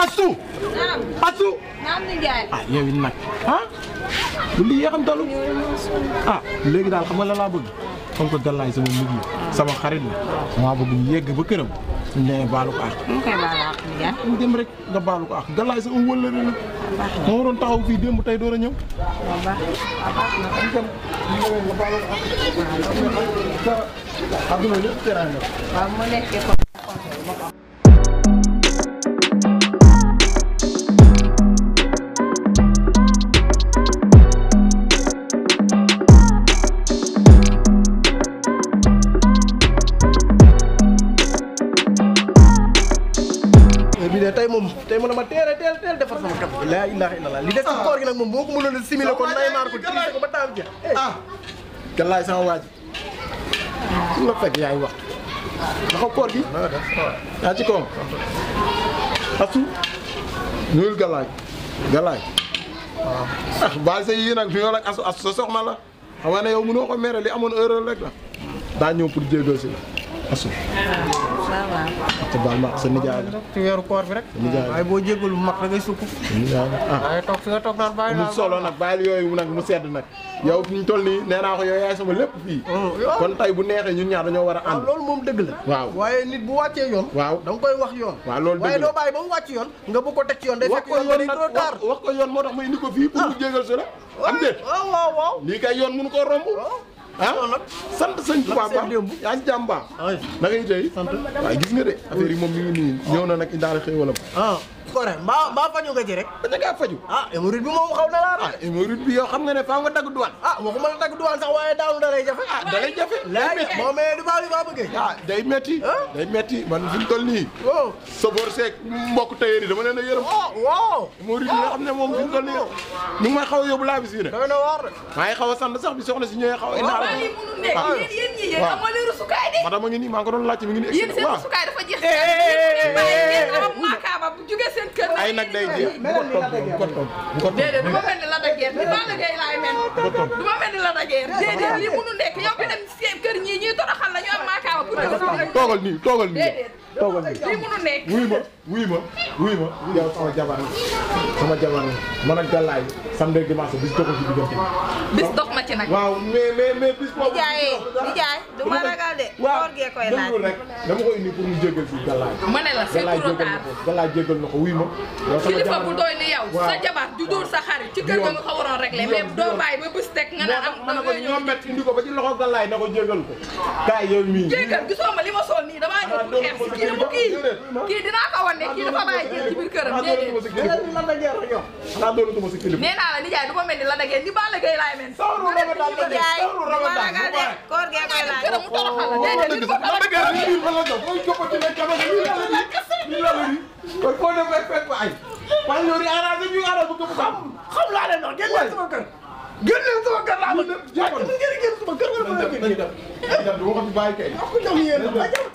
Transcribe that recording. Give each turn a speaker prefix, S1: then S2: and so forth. S1: Astou
S2: naam
S1: Astou
S2: naam Ndiaye.
S1: ah yow it nag ah bu lii yéexam talu ah léegi daal xam nga la laa bëgg comme que Galaye sama mujj la sama xarit la maa bëgg ñu yegg ba këram suñ demee baalu ko àq.
S2: mu koy baal àq Ndiaye.
S1: ñu dem rek nga baalu ko àq Galaye sama wëllëre la moo waroon taxaw fii démb tey door a ñëw.
S2: waaw baax na baax na.
S1: ñu dem ñu demee nga baalu ko àq. dara adduna lépp teraanga.
S2: waaw mu nekkee ko.
S3: heure bii de tey moom tey mu ne ma teel a teel teel defar sama kap bi. laa ilaaha illallah li des ci koor gi nag moom boo ko mënoon a similé ko nay maar ko triser ko ba taam jeex. ah Galaye sama waa ji. su la fekk yaay waxtu. naka koor gi. yaa ci koom. Astou. nuyul Galaye. Galaye. waaw. ah baal sa yii nag nuyoo nag Astou Astou sa soxna la. xam nga ne yow mënoo ko mere li amoon erreur rek la. daa ñëw pour jéego si la. Astou.
S2: waaw waaw.
S3: te baal ma sa nijaay la.
S4: ci weeru koor bi rek.
S3: nijaay la
S4: waaye boo jégalu bu mag da ngay sukk.
S3: sa nijaay la ah.
S4: waaye toog fi nga toog naan bàyyi
S3: mu
S4: naa.
S3: solo nag bàyyil yooyu nag mu sedd nag yow fi ñu toll nii nee naa ko yow yaay sama lépp fii. kon tey bu neexee ñun ñaar dañoo war a
S4: waaw
S3: ànd.
S4: loolu moom dëgg la.
S3: waaw.
S4: waaye nit bu wàccee yoon.
S3: waaw.
S4: da nga koy wax yoon.
S3: waaw loolu dëgg
S4: waaye
S3: la.
S4: doo bàyyi ba mu wàcc yoon nga bëgg ko teg ci yoon day
S3: wax
S4: fekk
S3: ko
S4: yoon ba
S3: yoon
S4: ni
S3: nag
S4: trop tard.
S3: wax wax ko yoon moo tax ma indi ko fii pour mu jégal si la. am déet
S4: waaw waaw waaw.
S3: lii kay yoon mënu ko romb. ah sant sëñ Tuubaa
S4: seet démb.
S3: yaa ngi jàmm baax.
S4: ay
S3: na ngay tey. sant waaye gis nga de affaire yi moom mi ngi nii ñëw na nag indaale xéewalam.
S4: ah. kore mbaa mbaa fañu nga ci rek.
S3: ba ca ngaa faju.
S4: ah hémorroïde bi moom xaw na laa
S3: ah
S4: rek.
S3: hémorroïde bi yow xam nga ne faa nga dagg duwaan.
S4: ah waxuma la dagg duwaan sax waaye daanu da lay jafe. ah
S3: da lay jafe. day metti
S4: boo mayee du baax li baa bëggee.
S3: ah day metti.
S4: Ah.
S3: day metti man fi ñu toll nii.
S4: waaw.
S3: Sabor Seck mbokk tailleur yi dama leen a yërëm.
S4: waaw waaw.
S3: moo rit nga xam ne moom fi mu toll nii ñu ngi may xaw a yóbbu laa bi si ne.
S4: doy na waar de.
S3: maa ngi xaw a sant sax bi soxna si ñëwee xaw a indaale.
S5: waaw lii mënul nekk
S3: waaw
S5: yéen yéen ñi yéen amoo leen rusukaay de.
S3: madame a ngi nii maa ngi ko doon laajte mi ngi nii.
S5: yéen seen
S3: waaw
S5: rusukaay dafa jeex. yéen bàyyi ngeen am makaaba bu jugee seen kër.
S3: ay nag day jeex bu ko topp bu ko topp bu ko topp.
S5: déedéet du ma mel ni la dajeer ni Balla Gaye laay mel. du ma mel ni la dajeer déedéet lii mënul nekk yow bi dem seen kër ñii ñuy toroxal la ñu am makaaba pour jugee seen kër.
S3: toogal nii toogal nii
S5: déedéet
S3: toogal nii.
S5: lii mënul nekk.
S3: wuy ma wuy ma wuy ma yow sama jabar la sama jabar la man ak Galaye samedi ak dimanche bis doxul ci diggante bi.
S5: bis dox ma ci nag.
S3: waaw mais mais mais bis boobu.
S2: Ndiaye
S5: eh,
S2: Ndiaye du ma ragal de. koor gee koy laaj.
S3: déglu rek dama ko indi pour mu jégal fii Galaye.
S5: ma ne la c'est
S3: Galaye
S5: trop
S3: jégal na
S5: tard.
S3: ko Galaye jégal na ko wuy ma. yow sama
S5: kilifa
S3: jabar
S5: bu
S3: la.
S5: doy ni yow.
S3: waaw.
S5: sa jabar ju dóor sa xarit ci kër ga nga ko waroon réglé mais doo bàyyi ba bés teg nga
S3: moo
S5: ne
S3: tax
S5: am
S3: ma ne
S5: da
S3: ko
S5: ngay ñëw.
S3: ñoom met indi ko ba ci loxo Galaye na ko jégal ko. kaay yow mii.
S5: jéggal gisoo ma li ma sol nii damaa ñëw pour xeex kii dama kii kii dinaa ko wan ne kii dafa bàyyi jël ci biir këram déedéet
S3: xanaa doonatuma sa kilifa.
S5: nee naa la nijaay du ma mel ni la dagee ni Balla Gaye laay mel
S3: sawru ramadan la def
S5: eh,
S2: Ndiaye
S3: sawru
S2: du ma
S3: ramadan
S2: ragal de. koor gee koy laaj.
S5: këram mu toroxal la
S3: waaw
S5: déedéet
S3: dëgg
S5: ni
S3: sa
S5: ko
S3: la dëgg rek biir fa la def mooy coppati na jabar bi la la di la la di kon foo dem rek fekk ay waaye yow di arrangé ñu arrangé ko xam xam laa leen wax génn leen sama kër génn leen sama kër laa bëgg jàpp ngeen génn sama kër wala ma leen génn dañ dem dañ dem du ma ko fi bàyyi kay ko dem yéen dañ dem